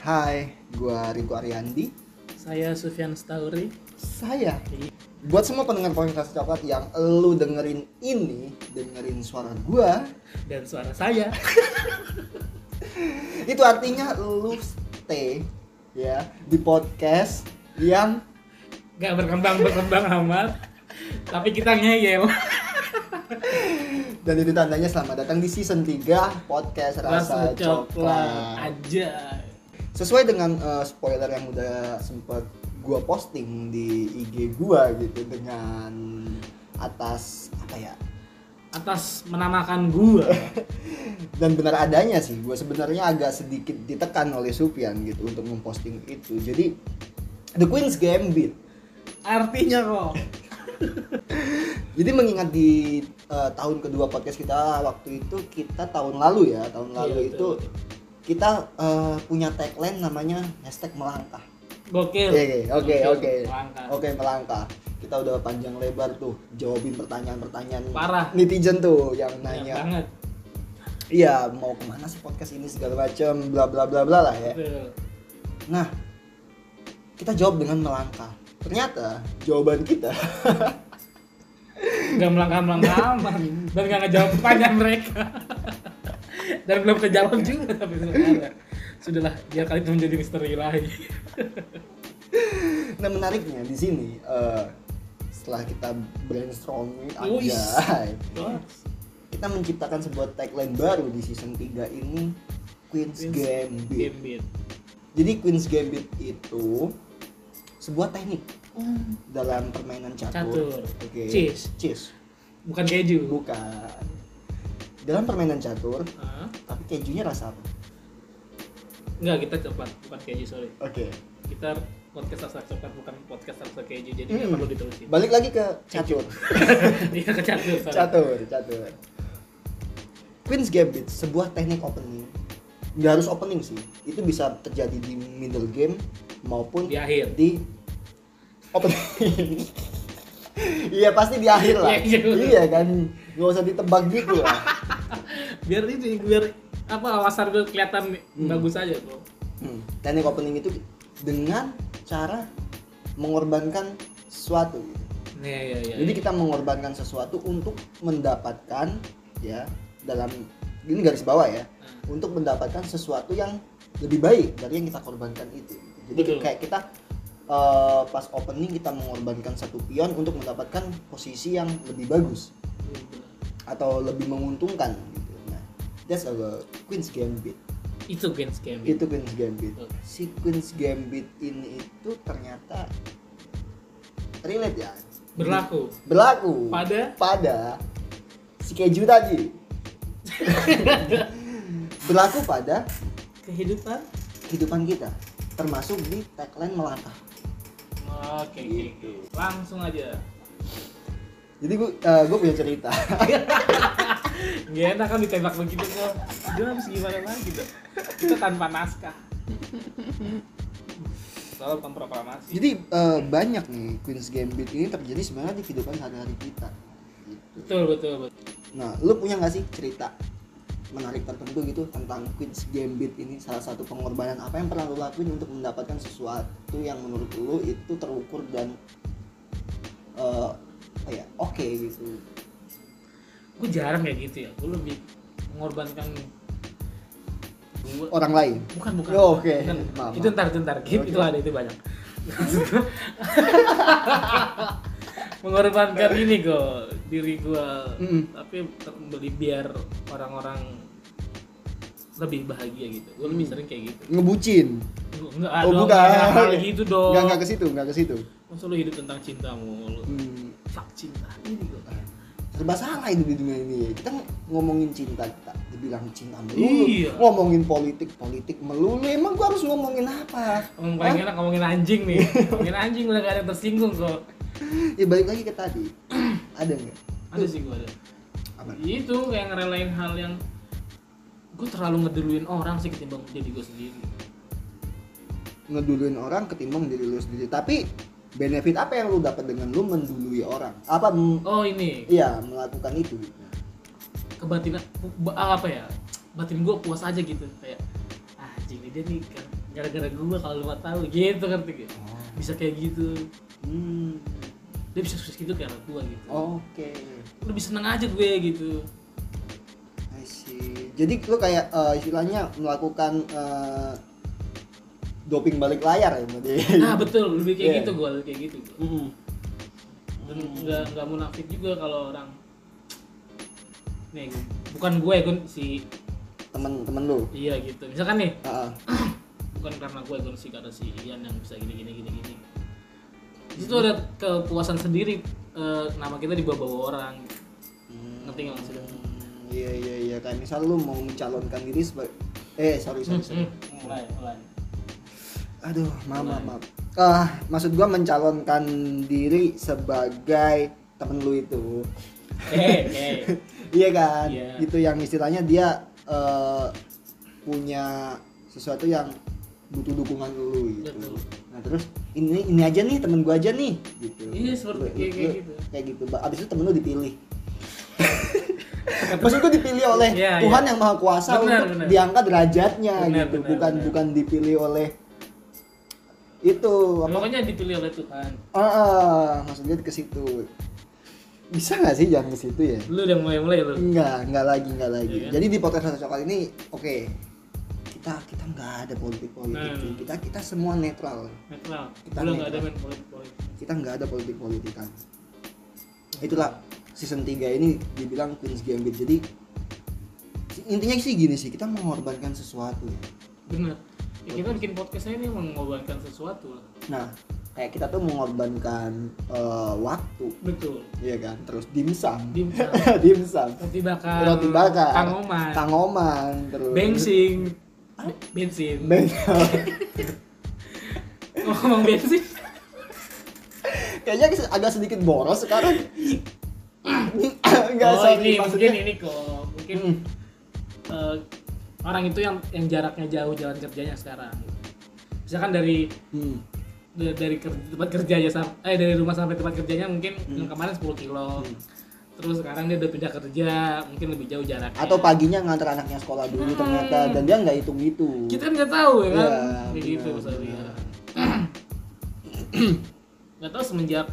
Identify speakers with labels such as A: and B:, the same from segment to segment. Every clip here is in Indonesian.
A: Hai, gua Riko Ariandi.
B: Saya Sufyan Stauri.
A: Saya buat semua pendengar podcast coklat yang lu dengerin ini, dengerin suara gua,
B: Dan suara saya.
A: itu artinya lu stay ya di podcast yang
B: Gak berkembang-berkembang amat. Tapi kita ngeyel.
A: dan itu tandanya selamat datang di season 3 podcast rasa, coklat.
B: aja.
A: Sesuai dengan eh, spoiler yang udah sempet gua posting di IG gua gitu dengan atas apa ya
B: Atas menamakan gua.
A: dan benar adanya sih gue sebenarnya agak sedikit ditekan oleh Supian gitu untuk memposting itu jadi The Queen's Gambit
B: Artinya kok.
A: jadi mengingat di eh, tahun kedua podcast kita waktu itu kita tahun lalu ya tahun
B: Iya,
A: lalu
B: betul.
A: itu kita eh, punya tagline namanya hashtag melangkah
B: Gokil.
A: Oke, Iya, oke
B: Gokil.
A: oke
B: Langkah.
A: oke melangkah kita udah panjang lebar tuh jawabin pertanyaan-pertanyaan
B: Parah.
A: netizen tuh yang
B: Banyak
A: nanya
B: banget.
A: iya mau kemana sih podcast ini segala macam bla bla bla bla lah ya
B: Betul.
A: Nah, kita jawab dengan melangkah. Ternyata jawaban kita
B: Gak melangkah-melangkah amat. Dan gak ngejawab pertanyaan mereka. Dan belum kejawab juga tapi sebenarnya. Sudahlah, biar kali itu menjadi misteri lagi.
A: nah menariknya di sini eh, setelah kita brainstorming
B: Wih.
A: aja
B: Wah.
A: kita menciptakan sebuah tagline baru di season 3 ini Queen's,
B: Queen's
A: Gambit.
B: Gambit.
A: Jadi Queen's Gambit itu sebuah teknik dalam permainan Hmm. catur.
B: Catur.
A: Oke.
B: Cheese.
A: Cheese.
B: Bukan keju.
A: Bukan. Dalam permainan catur,
B: Hah?
A: tapi kejunya rasa apa?
B: Enggak, kita cepat, bukan keju, sorry.
A: Oke.
B: Kita podcast rasa cepat, bukan podcast rasa keju, jadi nggak
A: Hmm.
B: perlu diterusin.
A: Balik lagi ke catur.
B: Iya, ke catur, sorry.
A: catur catur Queen's Gambit sebuah teknik opening nggak harus opening sih itu bisa terjadi di middle game maupun
B: Di akhir.
A: di opening iya pasti di akhir lah
B: Iya, iya.
A: iya kan nggak usah ditebak gitu lah
B: Biar ini, biar apa awasar gue kelihatan
A: Hmm.
B: bagus aja, bro.
A: Hmm, teknik opening itu dengan cara mengorbankan sesuatu gitu.
B: Iya, iya, iya.
A: Jadi kita mengorbankan sesuatu untuk mendapatkan ya dalam ini garis bawah ya, untuk mendapatkan sesuatu yang lebih baik dari yang kita korbankan itu. Jadi
B: Betul.
A: kayak kita eh, pas opening kita mengorbankan satu pion untuk mendapatkan posisi yang lebih bagus atau lebih menguntungkan gitu. Nah, that's our Queen's Gambit.
B: Itu Queen's Gambit.
A: Itu Queen's Gambit.
B: Betul.
A: Si Queen's Gambit ini itu ternyata relate ya.
B: Berlaku
A: Berlaku
B: pada
A: pada si keju tadi berlaku pada
B: kehidupan.
A: kehidupan kita termasuk di tagline melangkah
B: Oke, oke,
A: Gitu.
B: oke. langsung aja.
A: jadi gue punya cerita
B: Gak enak kan ditembak begitu kok. Dia harus gimana lagi dong? Kita tanpa naskah. Soalnya bukan proklamasi.
A: jadi eh, banyak nih Queen's Gambit ini terjadi sebenarnya di kehidupan sehari-hari kita gitu.
B: Betul betul betul.
A: nah lu punya nggak sih cerita menarik tertentu gitu tentang Queen's Gambit ini salah satu pengorbanan apa yang pernah lu lakuin untuk mendapatkan sesuatu yang menurut lu itu terukur dan eh apa ya oke gitu
B: Gue jarang ya gitu ya. Gue lebih mengorbankan gua
A: orang lain
B: bukan bukan.
A: Oh, oke.
B: Bukan.
A: Maaf,
B: Itu
A: maaf.
B: ntar itu ntar. Gitu,
A: Oke.
B: Itu ada itu banyak. mengorbankan ini kok diri gue
A: Mm-mm.
B: tapi beli biar orang-orang lebih bahagia gitu gue lebih
A: Mm.
B: sering kayak gitu
A: ngebucin
B: Enggak,
A: Oh,
B: dong,
A: bukan.
B: nggak hal gitu dong.
A: nggak nggak ke situ nggak ke situ
B: Masa lu hidup tentang cintamu lu.
A: hmm.
B: Fuck cinta ini kok.
A: Ah. serba salah itu di dunia ini kita ngomongin cinta kita dibilang cinta melulu
B: Iya.
A: ngomongin politik politik melulu emang gua harus ngomongin apa
B: Ngomong paling enak ngomongin anjing nih. ngomongin anjing udah gak ada yang tersinggung kok.
A: Hah? ya balik lagi ke tadi ada nggak
B: Ada sih gua ada.
A: apa
B: Itu kayak ngerelain hal yang gue terlalu ngeduluin orang sih ketimbang jadi gue sendiri.
A: ngeduluin orang ketimbang diri lu sendiri tapi benefit apa yang lu dapat dengan lu mendului orang apa m-
B: Oh ini
A: iya melakukan itu kebatinan
B: kebatinan bu- ba- apa ya? Batin gue puas aja gitu kayak "Ah, anjing nih dia nih gak, gara-gara gue kalau lu nggak tahu gitu kan bisa kayak gitu
A: Hmm.
B: dia bisa sukses gitu kayak anak gue gitu
A: Oke.
B: lebih seneng aja gue gitu
A: I see. Jadi lu kayak eh, istilahnya melakukan eh, doping balik layar ya berarti.
B: nah betul lebih kayak
A: Iya.
B: gitu gue lebih kayak gitu gua.
A: Hmm.
B: dan nggak nggak munafik juga kalau orang nih gua- bukan gue gue si
A: Temen-temen lu.
B: iya gitu misalkan nih
A: Heeh.
B: bukan karena gue gue sih karena si Ian yang bisa gini gini gini gini di situ ada kepuasan sendiri eh, nama kita dibawa-bawa orang ngerti nggak maksudnya
A: Hmm, Iya iya iya kayak misal lu mau mencalonkan diri sebagai eh sorry
B: Hmm,
A: sorry, sorry.
B: mulai mulai
A: Aduh, maaf, maaf,
B: Mulai.
A: maaf. Ah, maksud gua mencalonkan diri sebagai temen lu itu.
B: eh eh
A: Iya kan?
B: Iya.
A: Itu yang istilahnya dia eh, punya sesuatu yang butuh dukungan lu gitu.
B: Betul.
A: Nah, terus ini ini aja nih temen gua aja nih gitu.
B: Iya, seperti
A: Lu-
B: kayak-
A: lu-
B: kayak
A: lu-
B: gitu.
A: Kayak gitu. Ba- Abis itu temen lu dipilih. Maksud gua dipilih oleh
B: Iya, iya.
A: Tuhan yang Maha Kuasa
B: Benar,
A: untuk
B: benar.
A: diangkat derajatnya
B: Benar,
A: gitu,
B: benar,
A: bukan
B: benar.
A: bukan dipilih oleh itu apa?
B: pokoknya dipilih oleh Tuhan
A: Ah, ah, maksudnya ke situ. Bisa nggak sih jangan ke situ ya?
B: lu udah mulai mulai lu
A: Enggak, enggak lagi, enggak lagi.
B: Iya kan?
A: Jadi di podcast Rasa Coklat ini oke. Kita kita enggak ada politik-politik.
B: Nah.
A: cuy. Kita kita semua netral.
B: netral
A: Kita
B: belum nggak ada
A: netral.
B: main politik politik
A: Kita enggak ada politik-politikan. Itulah season 3 ini dibilang Queen's Gambit. Jadi intinya sih gini sih, kita mengorbankan sesuatu ya.
B: bener ya, kita bikin podcast ini emang mengorbankan sesuatu lah
A: Nah, kayak kita tuh mengorbankan eh, waktu,
B: betul
A: ya kan? Terus dimsum.
B: dimsum
A: dimsum.
B: roti bakar
A: Roti bakar.
B: Kang Oman,
A: Tangoman terus.
B: bensin bensin Oh,
A: Bensin.
B: ngomong bensin
A: kayaknya se- agak sedikit boros sekarang nggak
B: oh
A: sorry
B: ini
A: maksudnya
B: mungkin ini kok mungkin
A: Mm,
B: eh, orang itu yang yang jaraknya jauh jalan kerjanya sekarang misalkan dari
A: hmm,
B: da- dari ker- tempat kerjanya sam- eh dari rumah sampai tempat kerjanya mungkin yang kemarin 10 kilo
A: Hmm.
B: terus sekarang dia udah pindah kerja mungkin lebih jauh jaraknya
A: atau paginya ngantar anaknya sekolah dulu ternyata dan dia nggak hitung itu
B: kita kan nggak tahu ya kan
A: Iya,
B: kayak gitu
A: benar,
B: sorry ya.
A: benar.
B: nggak tahu semenjak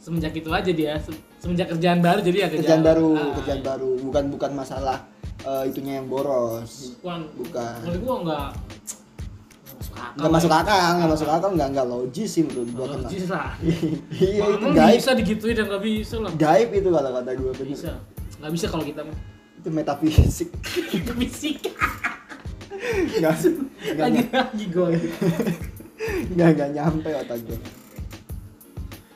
B: semenjak itu aja dia se- semenjak kerjaan baru jadi ya
A: kerjaan baru
B: Ah,
A: kerjaan baru bukan bukan masalah eh, itunya yang boros
B: bukan
A: Bukan.
B: menurut gua nggak nggak masuk akal ya.
A: nggak masuk akal nggak masuk akal nggak nggak logis sih menurut gua kena
B: logis lah
A: iya itu
B: Emang
A: gaib
B: bisa digituin dan nggak bisa lah
A: gaib itu kalau kata gua
B: nggak
A: bener
B: bisa nggak bisa kalau kita mah
A: itu metafisik
B: fisika
A: nggak nggak
B: lagi lagi gue
A: nggak nggak nyampe otak gua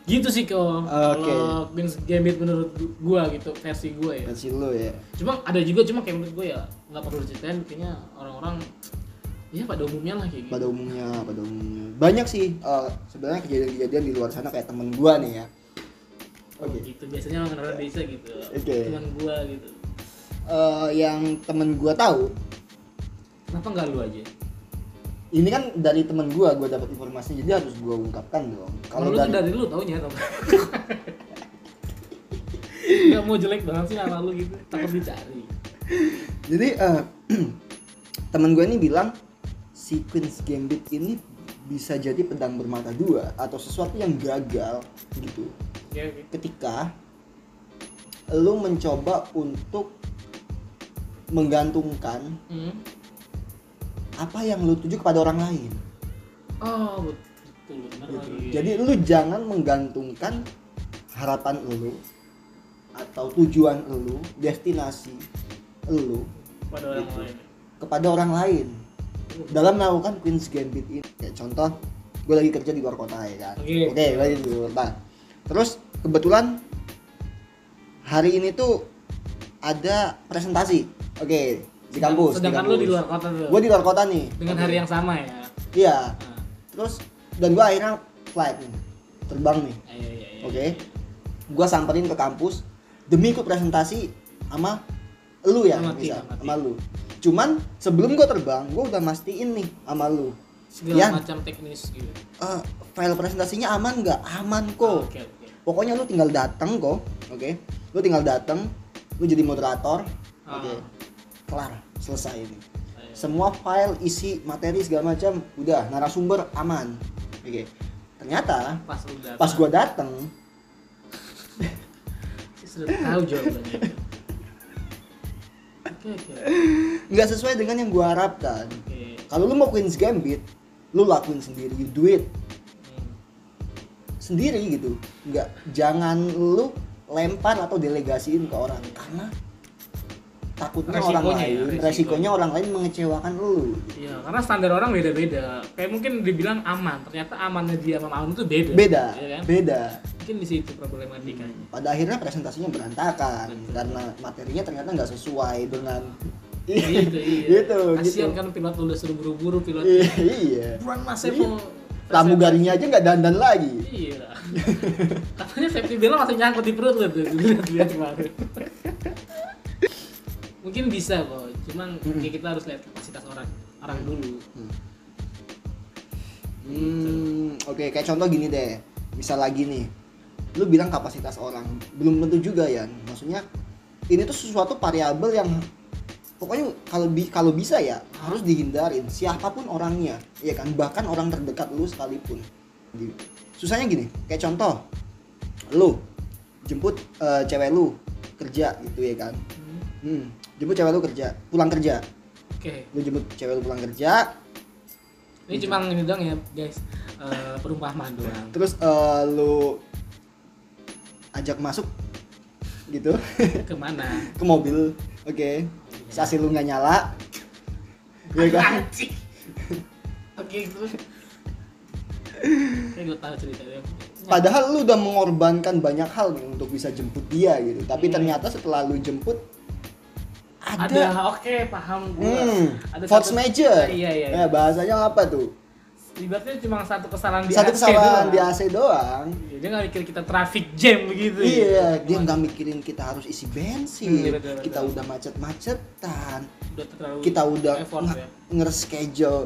B: gitu sih kalau
A: Oke.
B: kalau Queen's Gambit menurut gua gitu versi gua ya
A: versi lu ya
B: cuma ada juga cuma kayak menurut gue ya nggak perlu diceritain kayaknya orang-orang ya pada umumnya lah kayak gitu
A: pada um- umumnya pada umumnya banyak sih eh, sebenarnya kejadian-kejadian di luar sana kayak temen gua nih ya
B: Oh,
A: oke
B: gitu biasanya orang orang desa gitu
A: Oke.
B: cuman gue gitu
A: Eh, yang temen gua tahu
B: kenapa nggak lu aja
A: ini kan dari temen gua gua dapat informasinya jadi harus gua ungkapkan dong
B: kalau
A: kalau
B: lu tuh
A: dari
B: dari lu taunya tau nggak mau jelek banget sih nama lu gitu takut dicari
A: jadi eh, temen gua ini bilang sequence gambit ini bisa jadi pedang bermata dua atau sesuatu yang gagal gitu
B: ya oke
A: ketika lu mencoba untuk menggantungkan
B: Hmm.
A: apa yang lu tuju kepada orang lain.
B: oh betul benar
A: gitu.
B: lagi
A: Jadi lu jangan menggantungkan harapan lu atau tujuan lu, destinasi lu
B: pada orang
A: gitu.
B: lain
A: kepada orang lain dalam melakukan Queen's Gambit ini. Kayak contoh, gue lagi kerja di luar kota ya kan.
B: Oke.
A: Oke, gue lagi di luar kota. Terus kebetulan hari ini tuh ada presentasi. Oke, di kampus.
B: sedangkan lu di luar kota tuh
A: Gue di luar kota nih.
B: dengan
A: Oke.
B: hari yang sama ya
A: Iya.
B: nah,
A: terus dan gua akhirnya flight nih terbang nih
B: ayo, ayo, ayo.
A: oke gua samperin ke kampus demi ikut presentasi sama lu ya
B: Sama
A: bisa
B: kita, sama
A: sama lu cuman sebelum gua terbang gua udah mastiin nih sama lu
B: segala
A: Yan.
B: macam teknis gitu
A: Eh,
B: Ah,
A: file presentasinya aman nggak aman kok
B: oke oke
A: pokoknya lu tinggal datang kok oke lu tinggal datang lu jadi moderator oke
B: Ah.
A: kelar selesai ini
B: Ayo.
A: semua file isi materi segala macam udah narasumber aman oke ternyata
B: pas lu datang
A: pas gua dateng
B: saya sudah tahu jawabannya oke oke
A: nggak sesuai dengan yang gua harapkan
B: oke
A: kalau lu mau Queen's Gambit lu lakuin sendiri you do it
B: Hmm.
A: sendiri gitu nggak jangan lu lempar atau delegasiin ke orang karena takutnya orang
B: Resikonya ya,
A: lain
B: resikonya.
A: resikonya orang lain mengecewakan lu
B: Iya, karena standar orang beda-beda. Kayak mungkin dibilang aman, ternyata amannya dia sama aman itu beda.
A: beda
B: Iya kan?
A: beda
B: Mungkin di situ problematikanya.
A: pada akhirnya presentasinya berantakan
B: Betul.
A: karena materinya ternyata nggak sesuai dengan
B: Iya, itu, iya.
A: gitu,
B: Kasihan
A: gitu.
B: kan pilot udah suruh buru-buru pilot.
A: I- iya
B: Buruan mas, saya
A: Iya.
B: mau
A: pramugarinya aja nggak dandan lagi
B: Iya. Katanya safety belt masih nyangkut di perut lu tuh. Lihat-lihat kemarin. Mungkin bisa kok, cuman kayak kita harus lihat kapasitas orang orang dulu.
A: Hmm, oke kayak contoh gini deh. Misal lagi nih, lu bilang kapasitas orang belum tentu juga ya. Maksudnya ini tuh sesuatu variabel yang pokoknya kalau bi- kalau bisa ya harus dihindarin siapapun orangnya, ya kan bahkan orang terdekat lu sekalipun. Di- Susahnya gini, kayak contoh lu jemput eh, cewek lu kerja gitu ya kan.
B: Hmm,
A: Hmm, jemput cewek lu kerja, pulang kerja.
B: Oke,
A: Lu jemput cewek lu pulang kerja,
B: ini cuma
A: Iya.
B: ini doang ya guys, Eh, perumpamaan doang.
A: terus eh, lu ajak masuk gitu
B: Kemana?
A: ke mobil oke sasi lu nggak nyala ya kan
B: Anjing. Oke, terus. Kayak gue tahu ceritanya.
A: padahal lu udah mengorbankan banyak hal nih untuk bisa jemput dia gitu
B: Hmm.
A: tapi ternyata setelah lu jemput
B: Ada,
A: ada,
B: oke, paham gue.
A: Hmm, force
B: satu-
A: major
B: Iya, iya. iya.
A: Ya, bahasanya apa tuh
B: Ibaratnya cuma satu kesalahan di
A: satu
B: AC
A: kesalahan
B: doang.
A: di AC doang
B: Iya, dia nggak mikir kita traffic jam begitu.
A: Iya, dia
B: Cuman
A: nggak mikirin kita harus isi
B: Iya,
A: bensin,
B: betul, betul.
A: kita udah macet-macetan,
B: udah terlalu
A: kita udah
B: effort
A: nge-
B: ya. Iya,
A: ngereschedule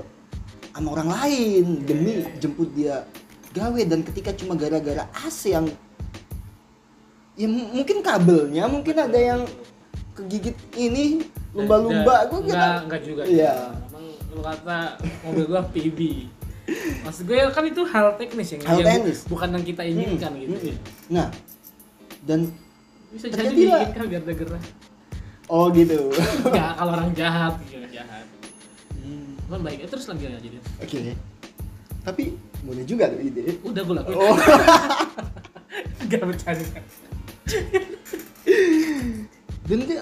A: sama orang lain demi jemput dia gawe dan ketika cuma gara-gara AC yang ya m- mungkin kabelnya mungkin ada yang kegigit ini lumba-lumba gue
B: enggak,
A: kira
B: enggak juga.
A: Iya.
B: Emang lu kata mobil gua PB. Maksud gue kan itu hal teknis yang,
A: Hal
B: yang bu-
A: teknis.
B: bukan yang kita inginkan
A: Hmm,
B: gitu.
A: hmm.
B: ya.
A: nah dan
B: Bisa jadi
A: Terjadilah.
B: diinginkan biar ada gerah.
A: oh gitu
B: ya kalau orang jahat gitu jahat
A: Hmm,
B: bukan baik Eh, terus lagi aja dia
A: oke tapi boleh juga tuh ide
B: udah gue lakuin
A: Oh.
B: gak bercanda
A: dan dia lu
B: dia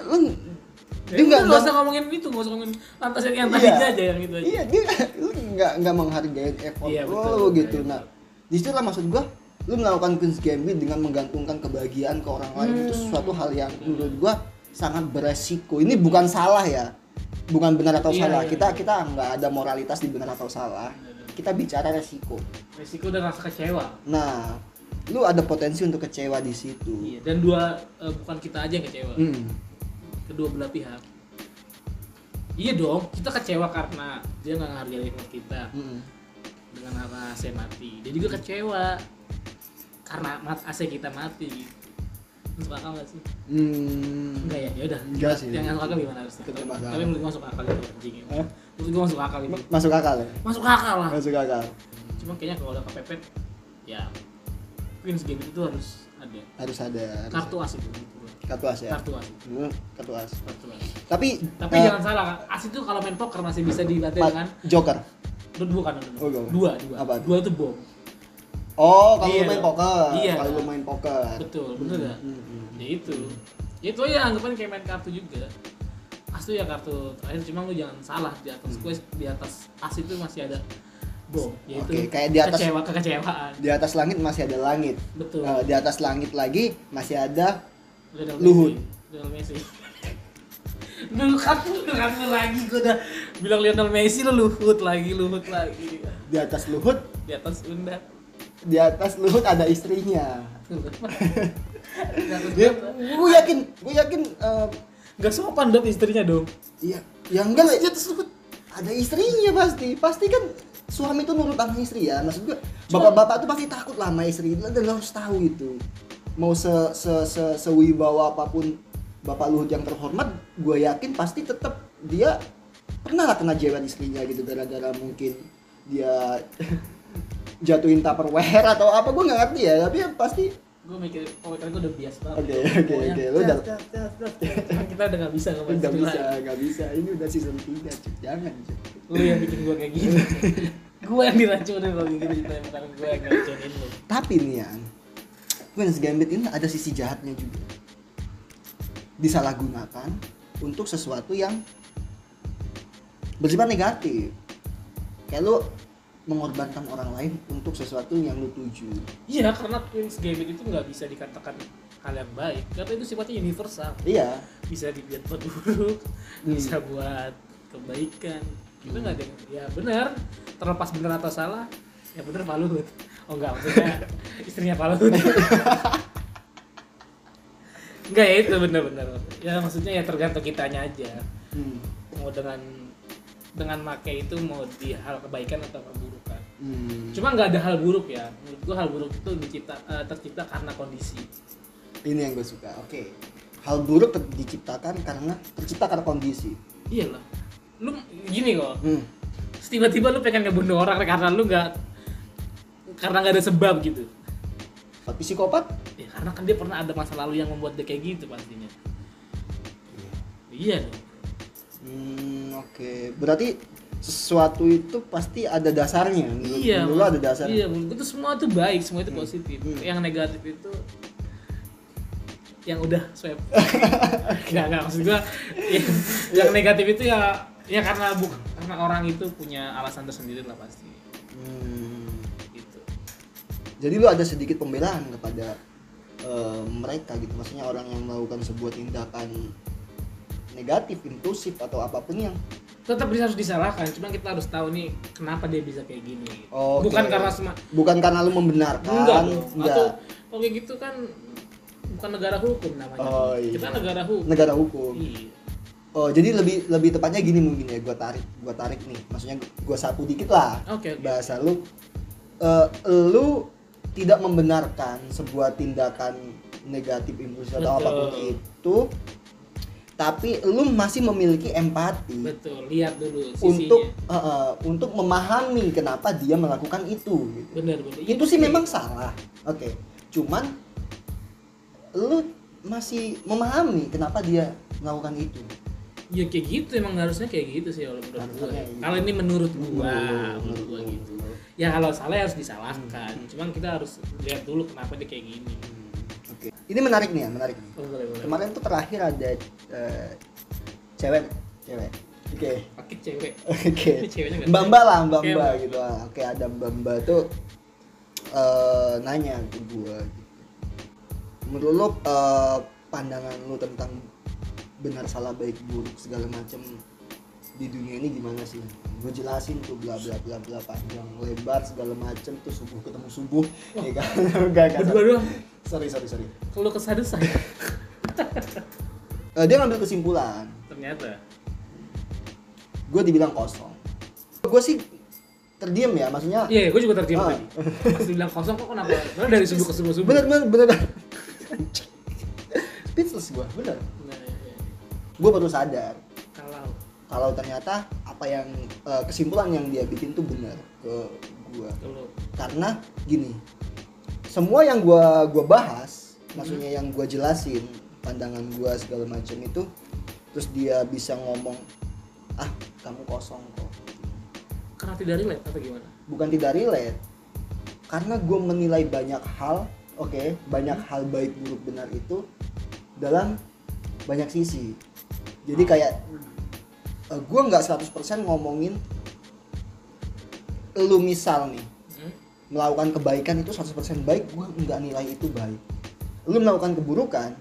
A: dia nggak
B: Ya nggak usah ngomongin itu nggak usah ngomongin lantas yang yang tadinya aja yang itu aja
A: Iya, dia lu nggak nggak menghargai effort
B: Iya, betul,
A: lu
B: betul,
A: gitu.
B: iya,
A: Nah, disitulah maksud gua lu melakukan Queen's Gambit dengan menggantungkan kebahagiaan ke orang lain
B: Hmm.
A: itu sesuatu hal yang menurut gua sangat beresiko. Ini bukan salah ya. Bukan benar atau
B: Iya,
A: salah.
B: iya,
A: kita
B: iya.
A: kita nggak ada moralitas di benar atau salah. Kita bicara resiko.
B: resiko dan rasa kecewa
A: Nah, lu ada potensi untuk kecewa di situ.
B: iya dan dua eh, bukan kita aja yang kecewa
A: Hmm.
B: kedua belah pihak iya dong kita kecewa karena dia nggak menghargai effort kita
A: Mm-mm.
B: dengan nama AC mati dia juga kecewa karena mat AC kita mati masuk akal gak sih
A: Hmm.
B: Enggak ya, yaudah
A: Enggak sih.
B: Yang masuk akal gimana harusnya?
A: Iya. Tetep
B: Tapi-
A: akal. Eh?
B: Tapi menurut gua masuk akal itu anjing ya.
A: Hah?
B: Menurut gua masuk akal itu.
A: Ma- Masuk akal ya?
B: Masuk akal lah.
A: Masuk akal.
B: Cuma kayaknya kalau udah kepepet ya Queen's Game itu tuh harus ada.
A: Harus ada harus
B: Kartu as itu. menurut gua.
A: ada. kartu as ya.
B: Kartu as.
A: Dulu kartu as.
B: Kartu as.
A: Tapi
B: Nah. Tapi
A: eh,
B: jangan kan? salah, Kak. as itu kalau main poker masih bisa dibantu
A: Pak,
B: dengan
A: Joker.
B: dot bukan dot
A: Oh, iya.
B: dua dua
A: Apa?
B: dua itu bom
A: Oh, kalau
B: Iya
A: lu main
B: dong.
A: poker.
B: Iya.
A: Kalau lu main poker.
B: betul betul gak?
A: Hmm, hmm.
B: ya itu ya itu aja anggapan kayak main kartu juga as itu ya kartu terakhir cuma lu jangan salah di atas
A: Hmm.
B: quest di atas as itu masih ada bom yaitu
A: Oke, kayak di atas-
B: kecewa kekecewaan
A: Di atas langit masih ada langit.
B: betul
A: Eh, di atas langit lagi masih ada
B: Lionel
A: Luhut.
B: Messi Lionel Messi lu kartu lu kartu lagi gua udah bilang Lionel Messi lu luhut lagi luhut lagi
A: di atas luhut,
B: di atas undak
A: di atas luhut ada istrinya.
B: Di atas
A: Dia,
B: undak.
A: gue yakin, gue yakin eh,
B: Gak sopan dong istrinya dong
A: iya, yang enggak lah, di atas luhut ada istrinya pasti. Pasti kan suami itu nurut sama istri ya. Maksud gue, bapak-bapak tuh pasti takut lah sama istri. Dan lo harus tahu itu. Mau se se se sewibawa apapun Bapak Luhut yang terhormat, gue yakin pasti tetap dia pernah lah kena jewer istrinya gitu gara-gara mungkin dia jatuhin tupperware atau apa gue nggak ngerti ya tapi ya pasti
B: gue mikir komentar gue udah bias banget
A: Oke,
B: Ya,
A: oke,
B: pokoknya
A: oke, lu udah-
B: cas, cas, cas, cas. Cuman Kan kita udah gak bisa ngomongin
A: nggak
B: itu
A: bisa
B: lagi.
A: nggak bisa ini udah season 3 cuy jangan cuy
B: lu yang bikin gue kayak gitu gue yang diracunin lo gitu gitu bukan gue yang ngeracunin lo
A: tapi nih ya Queen's Gambit ini ada sisi jahatnya juga disalahgunakan untuk sesuatu yang bersifat negatif kayak lu mengorbankan orang lain untuk sesuatu yang lu tuju
B: iya karena Queen's Gambit itu nggak bisa dikatakan hal yang baik karena itu sifatnya universal
A: iya
B: bisa dibuat buat buruk
A: Hmm.
B: bisa buat kebaikan kita nggak ada yang- ya benar terlepas benar atau salah ya benar Pak Luhut oh enggak maksudnya istrinya Pak Luhut enggak ya itu benar-benar ya maksudnya ya tergantung kitanya aja
A: Hmm.
B: mau dengan dengan make itu mau di hal kebaikan atau keburukan
A: Hmm.
B: cuma nggak ada hal buruk ya menurut gua hal buruk itu dicipta eh, tercipta karena kondisi
A: ini yang gue suka oke hal buruk ter- diciptakan karena tercipta karena kondisi
B: iyalah Iya lu gini kok
A: hmm.
B: Terus tiba-tiba lu pengen ngebunuh orang karena lu nggak karena nggak ada sebab gitu
A: tapi psikopat
B: ya karena kan dia pernah ada masa lalu yang membuat dia kayak gitu pastinya iya dong
A: Hmm, oke. Berarti sesuatu itu pasti ada dasarnya. Menurut
B: iya
A: dulu ada dasarnya.
B: iya menurut gua tuh semua itu baik semua itu positif
A: Hmm.
B: yang negatif itu yang udah swab nggak nggak maksud gua yang, yang negatif itu ya ya karena buk karena orang itu punya alasan tersendiri lah pasti
A: Hmm.
B: gitu
A: Jadi lu ada sedikit pembelaan kepada eh, mereka gitu. Maksudnya orang yang melakukan sebuah tindakan negatif, impulsif atau apapun yang
B: tetap bisa harus disalahkan cuman kita harus tahu nih kenapa dia bisa kayak gini
A: Oke.
B: bukan karena sema
A: bukan karena lu membenarkan,
B: enggak dong
A: enggak.
B: atau kalau kayak gitu kan bukan negara hukum namanya
A: Oh, iya.
B: kita negara hukum
A: negara hukum.
B: iya
A: Oh, jadi lebih lebih tepatnya gini mungkin ya, gua tarik, gua tarik nih. Maksudnya gua sapu dikit lah.
B: oke oke
A: bahasa lu eh, lu tidak membenarkan sebuah tindakan negatif impulsif atau
B: Betul.
A: apapun itu tapi lu masih memiliki empati
B: betul lihat dulu sisinya
A: untuk eh, eh, untuk memahami kenapa dia melakukan itu gitu.
B: benar benar
A: itu sih memang salah oke cuman lu masih memahami kenapa dia melakukan itu
B: ya kayak gitu emang harusnya kayak gitu sih kalau menurut gue
A: Harusnya kayak gitu.
B: kalau ini menurut gua
A: Menurut-
B: menurut gua
A: menurut-
B: gitu ya kalau salah ya harus disalahkan
A: Hmm.
B: cuman kita harus lihat dulu kenapa dia kayak gini
A: oke ini menarik nih ya menarik nih
B: oh, boleh boleh
A: kemarin tuh terakhir ada eh, cewek cewek oke
B: pakai cewek
A: oke
B: Ini ceweknya nggak
A: mbak mbak lah mbak
B: Oke,
A: mbak
B: Mbak.
A: gitu lah. oke ada mbak mbak tuh eh, nanya ke gue menurut lo eh, pandangan lo tentang benar salah baik buruk segala macam di dunia ini gimana sih gue jelasin tuh bla bla bla bla panjang lebar segala macem tuh subuh ketemu subuh ya kan enggak enggak,
B: berdua doang
A: sorry sorry sorry
B: kalau kesadusan
A: Eh, dia ngambil kesimpulan
B: ternyata
A: gue dibilang kosong gue sih terdiam ya maksudnya
B: Iya, gue juga terdiam
A: Ah.
B: tadi. Pas bilang kosong kok kenapa? Karena dari subuh ke subuh subuh.
A: bener bener bener speechless gue bener
B: Nah, iya.
A: gue baru sadar
B: Kalau
A: kalau ternyata apa yang eh, kesimpulan yang dia bikin tuh bener ke gue
B: kalau
A: karena gini semua yang gue gua bahas maksudnya yang gue jelasin pandangan gue segala macam itu terus dia bisa ngomong ah kamu kosong kok
B: karena tidak relate atau gimana?
A: bukan tidak relate karena gue menilai banyak hal oke banyak hal baik buruk benar itu dalam banyak sisi jadi kayak gue nggak 100% ngomongin lu misal nih
B: Hmm?
A: melakukan kebaikan itu 100% baik gue nggak nilai itu baik lu melakukan keburukan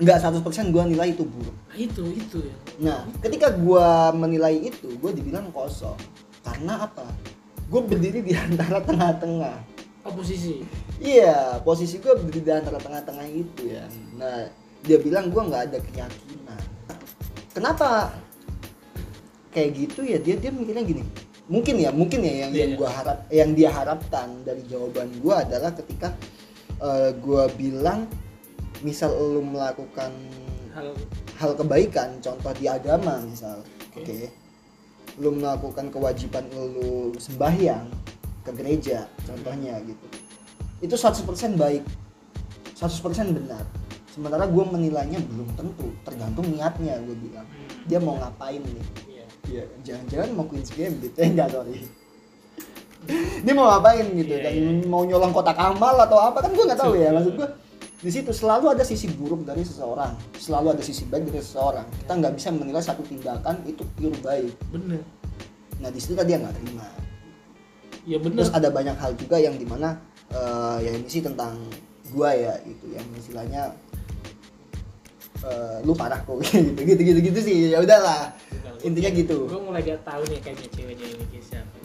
A: nggak 100% gue nilai itu buruk
B: Nah, itu itu ya.
A: Nah, ketika gua menilai itu, gua dibilang kosong. Karena apa? Gue berdiri di antara tengah-tengah.
B: Oposisi.
A: Iya, posisi gue berdiri di antara tengah-tengah itu ya. Nah, dia bilang gua nggak ada keyakinan. Kenapa kayak gitu ya? Dia dia mikirnya gini. Mungkin ya, mungkin ya yang yang
B: Iya.
A: gua harap, yang dia harapkan dari jawaban gua adalah ketika eh, gua bilang, misal lu melakukan
B: Hal
A: hal kebaikan contoh di agama misal oke
B: Oke.
A: lu melakukan kewajiban lu sembahyang ke gereja contohnya gitu itu 100% baik 100% benar sementara gue menilainya belum tentu tergantung niatnya gue bilang dia mau ngapain nih
B: Iya.
A: Iya, jangan-jangan mau Queen's Gambit ya enggak sorry. Dia mau ngapain gitu
B: Iya,
A: dan
B: iya,
A: mau nyolong kotak amal atau apa kan gue nggak tahu ya maksud gue di situ selalu ada sisi buruk dari seseorang, selalu ada sisi baik dari seseorang. Kita nggak bisa menilai satu tindakan itu pure baik.
B: Bener.
A: Nah di situ dia nggak terima.
B: Ya bener.
A: Terus ada banyak hal juga yang dimana eh, ya ini sih tentang gua ya gitu yang istilahnya eh, lu parah kok gitu gitu gitu gitu sih ya udahlah
B: Iya,
A: intinya gitu
B: Gue mulai gak tahu nih kayaknya ceweknya ini kayak siapa.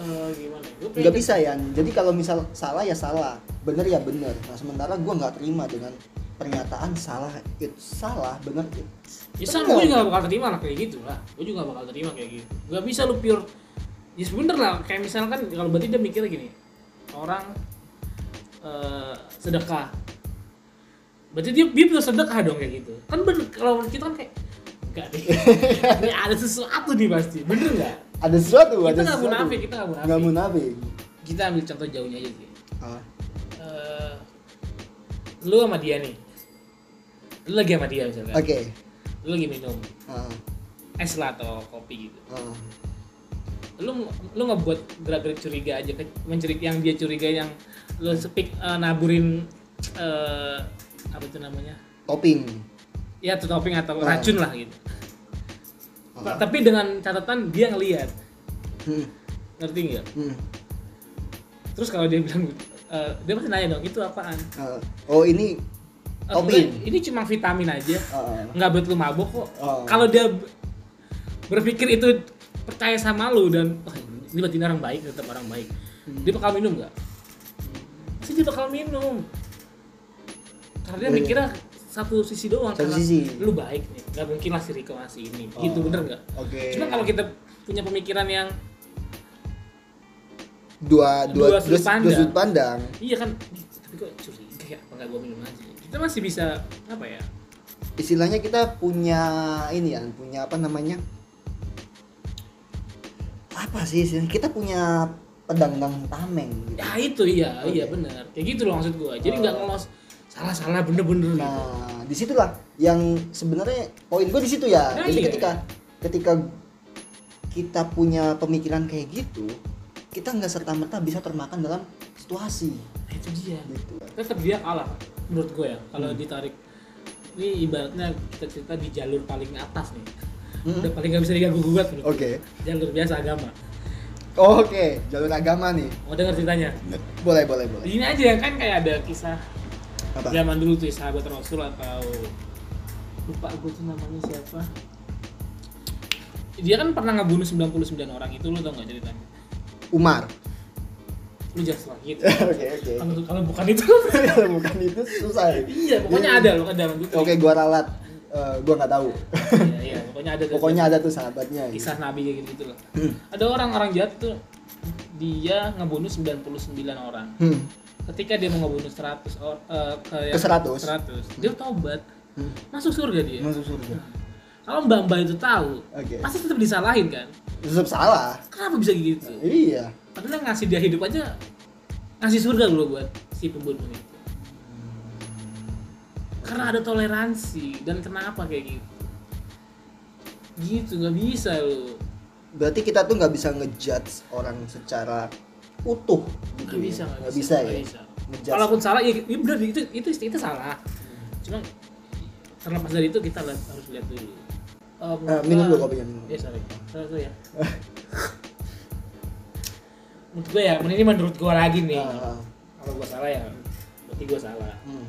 B: Eh gimana? Gue
A: nggak bisa ya jadi kalau misal salah ya salah bener ya bener nah sementara gue nggak terima dengan pernyataan salah itu salah bener itu
B: Ya sama gue juga gak bakal terima lah kayak gitu lah. Gue juga gak bakal terima kayak gitu. Gak bisa lu pure. Ya sebenernya lah kayak misalkan kalau berarti dia mikir gini. Orang eh, sedekah. Berarti dia dia pure sedekah dong kayak gitu. Kan bener kalau menurut kita kan kayak enggak deh. Ini ada sesuatu nih pasti. Bener nggak?
A: ada sesuatu
B: Kita
A: ada
B: nggak
A: sesuatu
B: munafik, kita nggak munafik.
A: nggak munafik
B: Kita ambil contoh jauhnya aja sih.
A: Ah,
B: Eh, lu sama dia nih. Lu lagi sama dia misalkan.
A: Ah. oke
B: Lu lagi minum
A: Ah,
B: es lah atau kopi gitu.
A: ah.
B: lu lu ngebuat gerak-gerik curiga aja ke- mencurigai yang dia curiga yang lu speak eh, naburin eh, apa itu namanya
A: topping
B: ya atau topping atau
A: Ah.
B: racun lah gitu
A: Ah.
B: tapi dengan catatan dia ngelihat
A: Hmm,
B: ngerti nggak
A: hmm.
B: terus kalau dia bilang eh, dia pasti nanya dong itu apaan
A: Ah, oh ini
B: Eh,
A: topping
B: enggak, ini cuma vitamin aja
A: Ah,
B: nggak buat lu mabok kok
A: Ah.
B: kalau dia b- berpikir itu percaya sama lu dan "Wah, ini berarti ini orang baik tetap orang baik
A: Hmm.
B: dia bakal minum nggak pasti dia bakal minum karena dia
A: Iya.
B: mikirnya satu sisi doang
A: Satu
B: karena
A: sisi.
B: lu baik nih nggak mungkin lah si Riko ngasih ini
A: Ah,
B: gitu bener nggak
A: oke
B: cuma kalau kita punya pemikiran yang
A: dua dua dua
B: dua sudut
A: dua sudut
B: pandang.
A: pandang
B: iya kan "Ih, tapi kok curiga ya apa nggak gua minum aja kita masih bisa apa ya
A: istilahnya kita punya ini ya punya apa namanya apa sih istilahnya? kita punya pedang-pedang tameng gitu.
B: ya itu iya
A: Oke.
B: iya bener kayak gitu loh maksud gua jadi
A: Oh.
B: nggak ngelos salah salah bener bener gitu
A: nah disitulah yang sebenarnya poin gue di situ ya
B: Nah,
A: jadi
B: iya.
A: ketika ketika kita punya pemikiran kayak gitu kita nggak serta merta bisa termakan dalam situasi
B: nah, itu dia
A: gitu
B: tetap dia kalah menurut gue ya kalau
A: Hmm.
B: ditarik ini ibaratnya kita cerita di jalur paling atas nih
A: Hmm.
B: udah paling nggak bisa diganggu gugat menurut
A: oke
B: gue. jalur biasa agama
A: oke jalur agama nih
B: mau denger ceritanya
A: boleh boleh boleh
B: ini aja yang kan kayak ada kisah
A: apa
B: zaman dulu tuh ya, sahabat rasul atau lupa gue tuh namanya siapa dia kan pernah ngebunuh 99 orang itu lu tau gak ceritanya
A: Umar
B: lu jangan salah gitu
A: oke oke
B: kalau kalau bukan itu
A: Kalau bukan itu susah ya.
B: iya pokoknya Iya, ada loh ada zaman dulu
A: Oke, gua ralat. Eh, gua nggak tahu.
B: iya, iya pokoknya ada
A: Pokoknya ada tuh sahabatnya. gitu. Hmm.
B: kisah nabi kayak gitu, lah. Ada orang orang jahat tuh dia ngebunuh 99 orang.
A: Hmm.
B: Ketika dia mau ngebunuh 100 or, eh,
A: Ke
B: ke,
A: 100?
B: 100, dia tobat. Masuk surga dia.
A: Masuk surga.
B: Kalau Mbak Mbak itu tahu,
A: Oke.
B: pasti tetap disalahin kan.
A: Tetap salah.
B: Kenapa bisa gitu?
A: Iya.
B: Padahal yang ngasih dia hidup aja ngasih surga loh buat si pembunuh itu. Karena ada toleransi dan kenapa kayak gitu? Gitu nggak bisa loh.
A: Berarti kita tuh nggak bisa ngejudge orang secara utuh gitu.
B: Gak
A: ya.
B: bisa,
A: Nggak bisa,
B: nggak
A: ya.
B: bisa.
A: Ngejudge.
B: Kalaupun salah, ya, ya benar itu itu itu salah. Cuma terlepas dari itu kita lihat, harus lihat dulu. Eh, menurut
A: minum
B: gua-
A: dulu kopinya, minum.
B: Ya sorry, terus dulu ya. menurut gue ya, ini menurut gue lagi nih.
A: Ah,
B: Kalau gue salah ya, berarti gue salah.
A: hmm.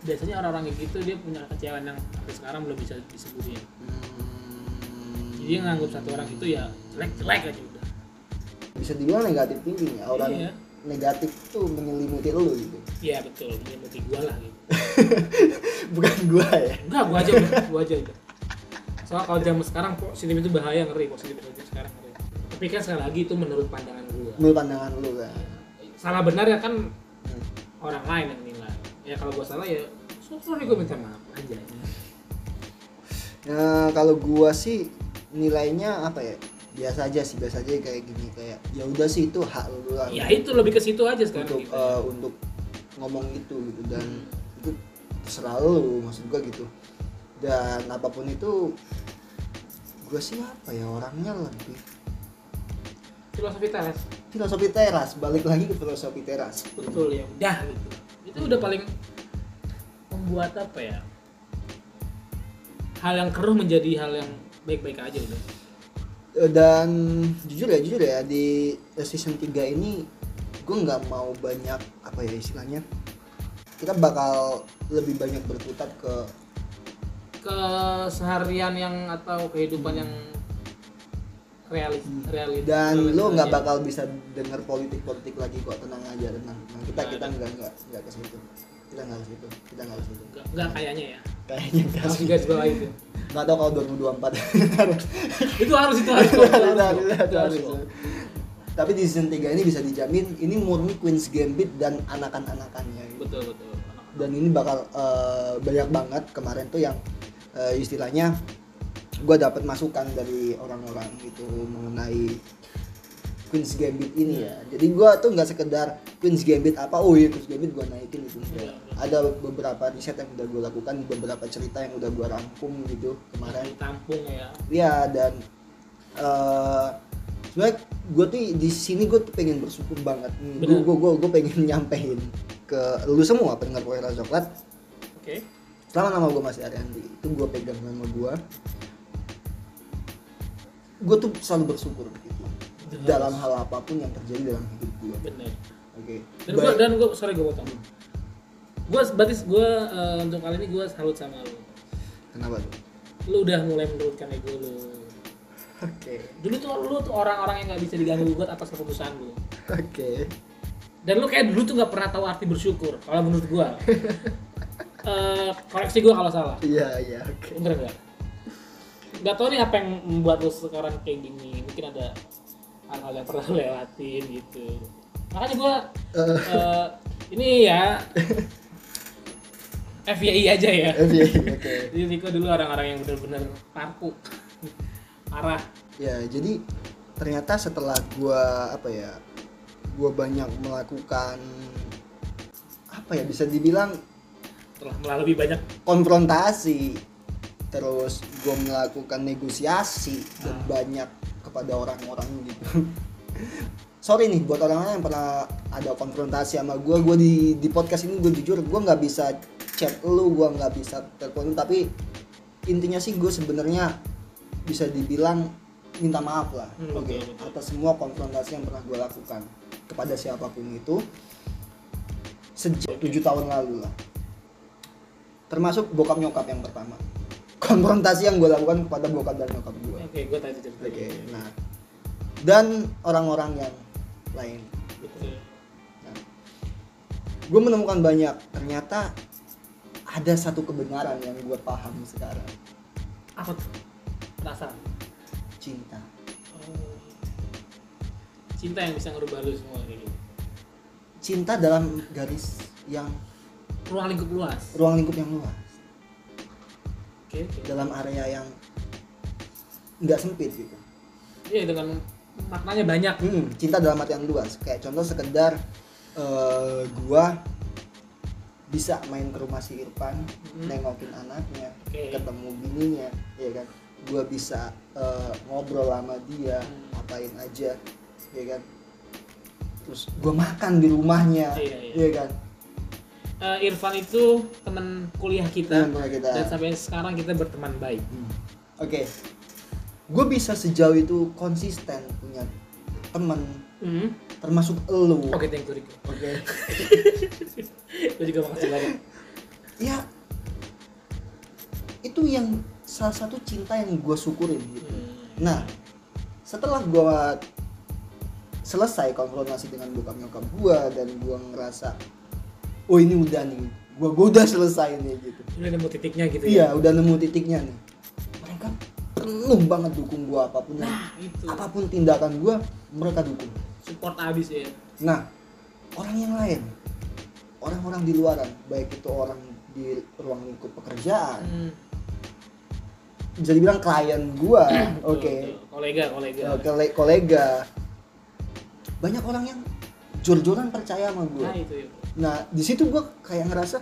B: Biasanya orang-orang kayak gitu dia punya kecewaan yang sampai sekarang belum bisa disembuhin.
A: Hmm.
B: Jadi dia nganggap satu orang itu ya jelek-jelek aja udah.
A: Bisa dibilang negatif thinking ya. Orang
B: Iya.
A: negatif tuh menyelimuti lu gitu.
B: Iya betul, menyembuhi gue lah gitu.
A: Bukan gua ya.
B: Enggak, gua aja udah, gua aja udah. Soalnya kalau zaman sekarang positif itu bahaya ngeri, positif itu sekarang ngeri. Tapi kan sekali lagi itu menurut pandangan gua.
A: Menurut pandangan lu kan.
B: Salah benar ya kan
A: Hmm.
B: orang lain yang nilai. Ya kalau gua salah ya sorry gua minta maaf aja.
A: Eh, Nah, kalau gua sih nilainya apa ya? 2,5 biasa aja sih biasa aja kayak gini kayak ya udah sih itu hak lu lah
B: ya itu lebih ke situ aja sekarang
A: untuk
B: gitu.
A: eh, untuk ngomong itu gitu dan itu terserah lu maksud gua gitu dan apapun itu gua sih apa ya orangnya lebih
B: filosofi teras
A: filosofi teras balik lagi ke filosofi teras
B: betul ya udah gitu itu udah paling membuat apa ya hal yang keruh menjadi hal yang baik-baik aja udah
A: Eh, dan jujur ya jujur ya di season 3 ini gue nggak mau banyak apa ya istilahnya kita bakal lebih banyak berputar ke
B: keseharian yang atau kehidupan yang realis
A: Hmm.
B: realis
A: dan lo
B: realis
A: nggak
B: aja.
A: bakal bisa denger politik politik lagi kok tenang aja tenang, tenang. kita
B: Nggak
A: kita
B: ada.
A: nggak nggak nggak ke situ kita nggak ke situ kita nggak ke situ Nah,
B: nggak nggak kayaknya ya
A: kayaknya nggak
B: harus
A: sih
B: digaris bawah itu
A: nggak tahu kalau 2024
B: itu harus itu harus itu harus,
A: Tidak,
B: itu
A: tidak,
B: harus,
A: tidak. tapi di season 3 ini bisa dijamin ini murni Queen's Gambit dan anakan-anakannya gitu.
B: betul betul
A: dan ini bakal eh, banyak banget kemarin tuh yang eh, istilahnya gue dapat masukan dari orang-orang gitu mengenai Queen's Gambit ini ya jadi gue tuh nggak sekedar Queen's Gambit apa oh iya Queen's Gambit gue naikin gitu enggak. ada beberapa riset yang udah gue lakukan beberapa cerita yang udah gue rangkum gitu kemarin
B: ditampung ya
A: Iya dan eh sebenarnya gue tuh di sini gue tuh pengen bersyukur banget. Gue
B: Benar.
A: gue gue pengen nyampein ke lu semua pendengar Poera Coklat.
B: oke
A: Selama nama gue masih Ariandi itu gue pegang nama gue. Gue tuh selalu bersyukur gitu.
B: Jelas.
A: Dalam hal apapun yang terjadi dalam hidup gue.
B: benar
A: Oke.
B: dan
A: Baik.
B: gua dan gua sorry gua potong gua berarti gua eh, untuk kali ini gua salut sama lu
A: Kenapa tuh?
B: lu udah mulai menurunkan ego lu
A: Oke.
B: dulu tuh lu tuh orang-orang yang nggak bisa diganggu gugat atas keputusan lu
A: Oke.
B: dan lu kayak dulu tuh nggak pernah tahu arti bersyukur kalau menurut gua Eh, koreksi gua kalau salah
A: Iya iya oke.
B: bener nggak nggak tahu nih apa yang membuat lu sekarang kayak gini mungkin ada hal-hal yang pernah lu lewatin gitu makanya gua
A: Eh.
B: eh, ini ya FYI aja ya
A: Iya, Oke.
B: jadi Riko dulu orang-orang yang bener-bener parku parah
A: ya jadi ternyata setelah gua apa ya gua banyak melakukan apa ya bisa dibilang
B: telah melalui banyak
A: konfrontasi terus gua melakukan negosiasi dan
B: Ah.
A: banyak kepada orang-orang gitu sorry nih buat orang-orang yang pernah ada konfrontasi sama gua gua di di podcast ini gue jujur gua nggak bisa chat lu gua nggak bisa telepon lu, tapi intinya sih gue sebenarnya bisa dibilang minta maaf lah
B: Hmm,
A: oke
B: betul, betul.
A: atas semua konfrontasi yang pernah gue lakukan kepada siapapun itu sejak tujuh tahun lalu lah termasuk bokap nyokap yang pertama konfrontasi yang gue lakukan kepada bokap dan nyokap gue
B: oke gua tadi cerita
A: oke nah dan orang-orang yang lain
B: Betul.
A: gue menemukan banyak ternyata ada satu kebenaran yang gue paham sekarang
B: apa tuh perasaan
A: cinta
B: Oh. cinta yang bisa ngerubah lu semua kayak gitu
A: cinta dalam garis yang
B: ruang lingkup luas oke
A: ruang lingkup yang luas
B: oke.
A: dalam area yang nggak sempit gitu
B: iya dengan maknanya banyak
A: Hmm, cinta dalam arti yang luas kayak contoh sekedar eh, gua bisa main ke rumah si Irfan
B: Mhm.
A: nengokin anaknya
B: Oke.
A: ketemu bininya ya kan gua bisa eh, ngobrol sama dia
B: Hmm.
A: ngapain aja ya kan terus gua makan di rumahnya
B: Iya, iya.
A: ya kan
B: Eh, Irfan itu teman kuliah kita
A: Teman kuliah Iya, kita. Hmm.
B: dan sampai sekarang kita berteman baik
A: Oke. Gue bisa sejauh itu konsisten punya teman
B: Hmm.
A: termasuk elu.
B: oke thank you Riko
A: Oke.
B: Lu juga makasih banyak
A: Ya itu yang salah satu cinta yang gue syukurin gitu.
B: Hmm.
A: Nah, setelah gue selesai konfrontasi dengan bokap nyokap gue dan gue ngerasa oh ini udah nih gue udah selesai nih gitu
B: udah nemu titiknya gitu
A: iya udah nemu titiknya nih mereka penuh banget dukung gue apapun yang
B: ya itu
A: apapun tindakan gue mereka dukung
B: support abis ya
A: nah orang yang lain orang-orang di Hmm. luaran baik itu orang di ruang lingkup pekerjaan
B: Hmm.
A: bisa dibilang klien gua
B: Betul,
A: oke
B: betul. Iya. kolega kolega
A: Ya, kole- kolega banyak orang yang jor-joran percaya sama
B: nah
A: gue
B: itu ya
A: nah di situ gue kayak ngerasa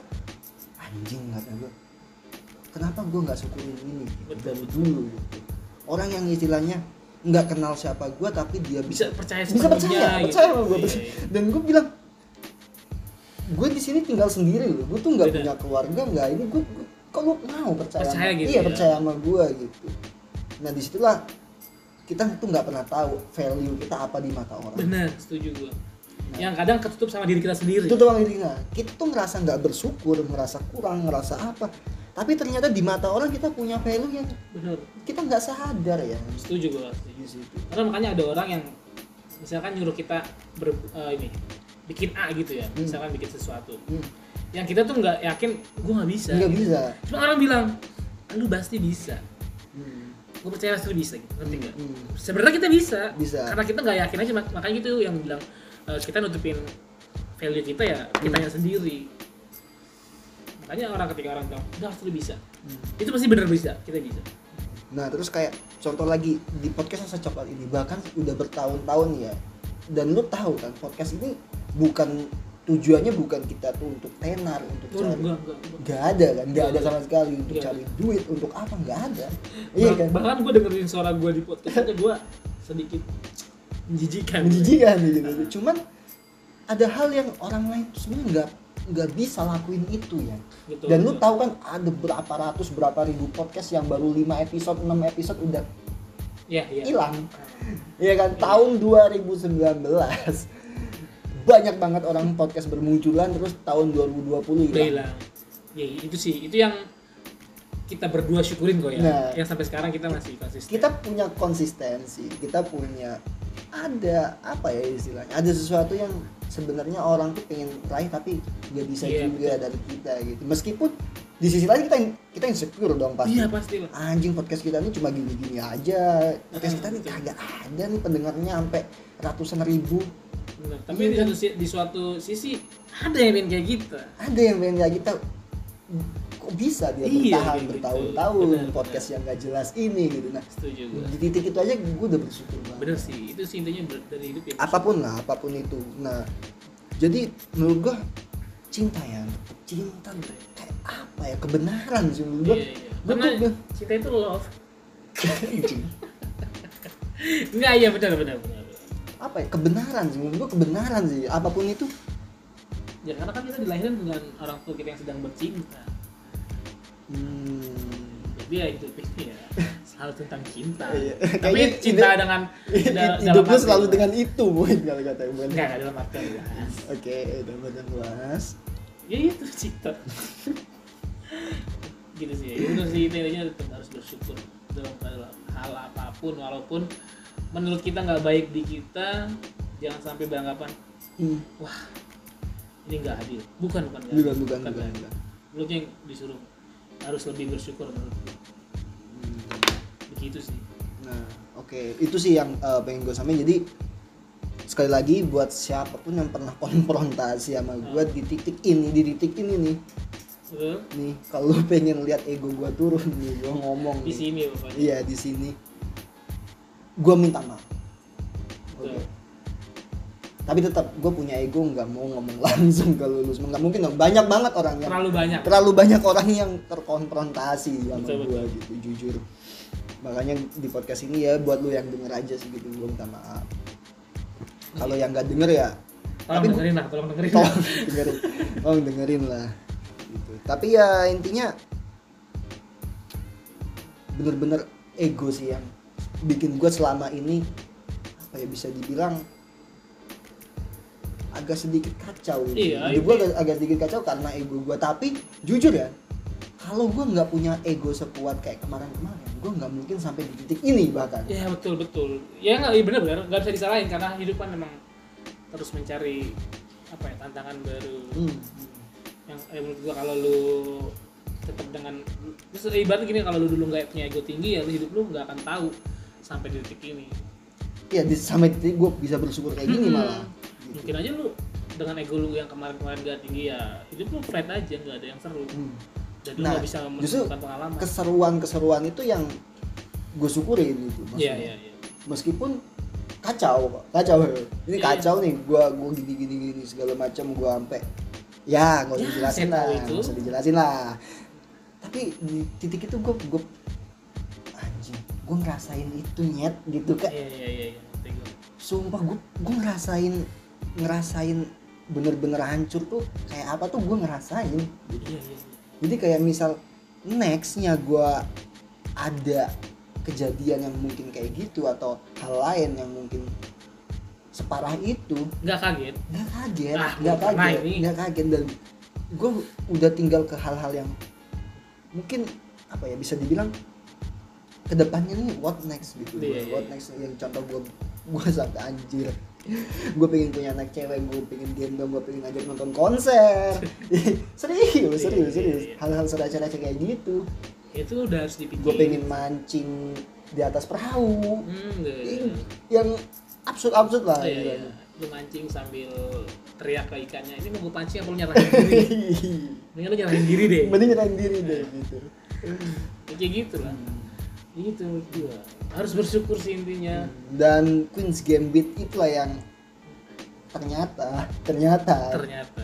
A: anjing kata gue kenapa gue nggak syukurin ini
B: Betul.
A: dari dulu gitu. orang yang istilahnya nggak kenal siapa gue tapi dia
B: bisa
A: bisa
B: percaya
A: bisa percaya percaya sama gue
B: Iya, iya.
A: dan gue bilang gue di sini tinggal sendiri loh gue tuh nggak
B: Beda.
A: punya keluarga nggak ini gue gue- kok lu mau percaya,
B: Percaya
A: sama-
B: gitu
A: iya
B: ya.
A: percaya sama gue gitu nah disitulah kita tuh nggak pernah tahu value kita apa di mata orang
B: benar setuju gue
A: Nah.
B: yang kadang ketutup sama diri kita sendiri
A: itu doang intinya kita tuh ngerasa nggak bersyukur ngerasa kurang ngerasa apa tapi ternyata di mata orang kita punya value yang
B: benar
A: kita nggak sadar ya
B: setuju gue setuju karena makanya ada orang yang misalkan nyuruh kita ber, eh, ini bikin A gitu ya
A: Hmm.
B: misalkan bikin sesuatu
A: Hmm,
B: yang kita tuh nggak yakin gue nggak bisa
A: nggak bisa
B: cuma orang bilang "Ah, lu pasti bisa
A: Hmm,
B: gue percaya pasti lu bisa gitu ngerti
A: hmm,
B: nggak
A: hmm.
B: sebenarnya kita bisa,
A: Bisa.
B: karena kita nggak yakin aja mak- makanya gitu yang bilang eh, kita nutupin value kita ya
A: Hmm.
B: kitanya sendiri makanya orang ketika orang bilang udah pasti lu bisa
A: Hmm.
B: itu pasti benar bisa kita bisa
A: Nah terus kayak contoh lagi di podcast rasa coklat ini bahkan udah bertahun-tahun ya dan lu tahu kan podcast ini bukan tujuannya bukan kita tuh untuk tenar untuk
B: Enggak,
A: cari
B: enggak, enggak, enggak.
A: nggak ada kan nggak
B: Iya.
A: ada sama sekali untuk
B: Nggak
A: cari duit untuk apa nggak ada iya
B: Bah-
A: kan
B: bahkan gue dengerin suara gue di podcast aja gue sedikit menjijikan
A: menjijikan gitu cuman ada hal yang orang lain tuh sebenarnya nggak nggak bisa lakuin itu ya
B: Betul,
A: dan lu
B: betul.
A: tahu kan ada berapa ratus berapa ribu podcast yang baru 5 episode 6 episode udah
B: ya ya
A: hilang Iya kan tahun 2019 banyak banget orang podcast bermunculan terus tahun 2020
B: udah
A: hilang.
B: hilang ya itu sih itu yang kita berdua syukurin kok ya
A: Nah.
B: yang sampai sekarang kita masih konsisten
A: Kita punya konsistensi, kita punya ada apa ya istilahnya? Ada sesuatu yang sebenarnya orang tuh pengen raih tapi nggak bisa
B: Iya,
A: juga dari kita gitu. Meskipun di sisi lain kita kita insecure dong pasti.
B: iya pasti lah
A: Anjing podcast kita ini cuma gini-gini aja. Podcast kita ini
B: Iya, Betul.
A: kagak ada nih pendengarnya sampai ratusan ribu.
B: Benar. Tapi
A: Iya kan?
B: di, satu, si- di suatu sisi ada yang pengen kayak kita.
A: ada yang pengen kayak kita kok bisa dia
B: Iya,
A: bertahan
B: gitu.
A: bertahun-tahun
B: Benar, Iya.
A: podcast yang gak jelas ini gitu nah
B: Setuju gue.
A: di titik itu aja gue udah bersyukur banget
B: Bener sih, itu sih intinya ber- dari hidup ya.
A: apapun lah apapun itu nah jadi menurut gue cinta ya tetep cinta gitu. kayak apa ya kebenaran sih menurut gue
B: Iya, iya. Karena
A: betul,
B: cinta itu love. Enggak, iya benar benar benar.
A: apa ya kebenaran sih menurut gue kebenaran sih apapun itu
B: Ya karena kan kita dilahirkan dengan orang tua kita yang sedang bercinta.
A: hmm,
B: Jadi ya itu ya selalu tentang cinta.
A: Iya.
B: Tapi
A: Kayaknya
B: cinta
A: hidup-
B: dengan da-
A: hidup lu
B: Nah, arti-
A: selalu dengan itu mungkin kalau kata gue
B: enggak enggak dalam arti luas.
A: oke udah benar luas
B: Ya itu cinta. gitu sih. Ya benar sih intinya tetap harus bersyukur dalam hal apapun walaupun menurut kita nggak baik di kita jangan sampai beranggapan
A: Hmm.
B: wah ini nggak adil bukan bukan nggak
A: bukan
B: adil,
A: bukan
B: nggak
A: bukan,
B: adil.
A: bukan.
B: Lu yang disuruh harus lebih bersyukur menurut gua. begitu sih
A: Nah, oke, itu sih yang eh, pengen gue sampein. Jadi sekali lagi buat siapapun yang pernah konfrontasi sama gue di titik ini, di titik ini nih,
B: Betul?
A: nih kalau lu pengen lihat ego gue turun nih, gue ngomong
B: di
A: nih.
B: sini ya, pokoknya
A: Iya di sini, gue minta maaf. Oke.
B: Betul.
A: Tapi tetap gue punya ego nggak mau ngomong langsung ke lu, lu semua. nggak mungkin dong. Banyak banget orang yang
B: terlalu banyak
A: terlalu banyak orang yang terkonfrontasi sama
B: Betul,
A: gue gitu jujur makanya di podcast ini ya buat lu yang denger aja sih gitu gue minta maaf kalau yang nggak denger ya
B: tolong
A: tapi-
B: dengerin lah tolong dengerin lah
A: tolong dengerin tolong dengerin lah gitu tapi ya intinya bener-bener ego sih yang bikin gue selama ini apa ya bisa dibilang agak sedikit kacau gitu.
B: Iya,
A: Hidup
B: itu-
A: gue agak, agak sedikit kacau karena ego gue tapi jujur ya kalau gue nggak punya ego sekuat kayak kemarin-kemarin gue nggak mungkin sampai di titik ini bahkan
B: ya betul betul ya nggak iya benar benar nggak bisa disalahin karena hidup kan memang terus mencari apa ya tantangan baru
A: Hmm.
B: yang eh, menurut gua kalau lu tetap dengan terus ibarat gini kalau lu dulu nggak punya ego tinggi ya lu hidup lu nggak akan tahu sampai di detik ini
A: ya di, sampai titik gue bisa bersyukur kayak gini
B: Hmm.
A: malah gitu.
B: mungkin aja lu dengan ego lu yang kemarin-kemarin gak tinggi ya hidup lu flat aja nggak ada yang seru
A: Hmm.
B: jadi
A: Nah,
B: nggak bisa
A: justru
B: menunjukkan pengalaman
A: keseruan-keseruan itu yang gue syukuri gitu
B: iya
A: maksudnya.
B: iya iya
A: meskipun kacau kok, kacau ini
B: Iya,
A: kacau nih gua gua gini gini gini segala macam gua sampai ya nggak usah
B: Ya,
A: dijelasin
B: saya
A: lah
B: tahu itu.
A: nggak usah dijelasin lah tapi di titik itu gua gua anjing gua ngerasain itu nyet gitu kayak
B: iya iya iya iya ngerti gua.
A: sumpah gue gue ngerasain ngerasain bener-bener hancur tuh kayak apa tuh gue ngerasain gitu.
B: iya iya iya.
A: jadi kayak misal nextnya gue ada kejadian yang mungkin kayak gitu atau hal lain yang mungkin separah itu
B: nggak kaget
A: nggak kaget
B: Ah,
A: nggak
B: pernah
A: kaget
B: ini.
A: nggak kaget dan gue udah tinggal ke hal-hal yang mungkin apa ya bisa dibilang kedepannya nih what next gitu
B: Iya, iya,
A: what
B: iya.
A: next yang contoh gue gue sampai anjir gue pengen punya anak cewek gue pengen gendong gue pengen ngajak nonton konser serius
B: Iya,
A: serius
B: iya,
A: serius
B: iya.
A: hal-hal seraca-raca kayak gitu
B: itu udah harus dipikirin
A: gue pengen mancing di atas perahu
B: hmm, nggak,
A: Ih, yang absurd-absurd lah
B: iya iya
A: gitu.
B: lu mancing sambil teriak ke ikannya ini mau gue pancing apa lu nyerahin diri mendingan lu nyerahin diri deh
A: mending nyerahin diri deh gitu
B: Ya, kayak gitu lah Ya gitu menurut gua harus bersyukur sih intinya
A: dan Queen's Gambit itulah yang ternyata ternyata
B: Hmm. ternyata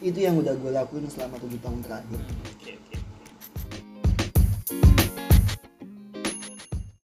A: itu yang udah gue lakuin selama tujuh tahun terakhir
B: Hmm, oke oke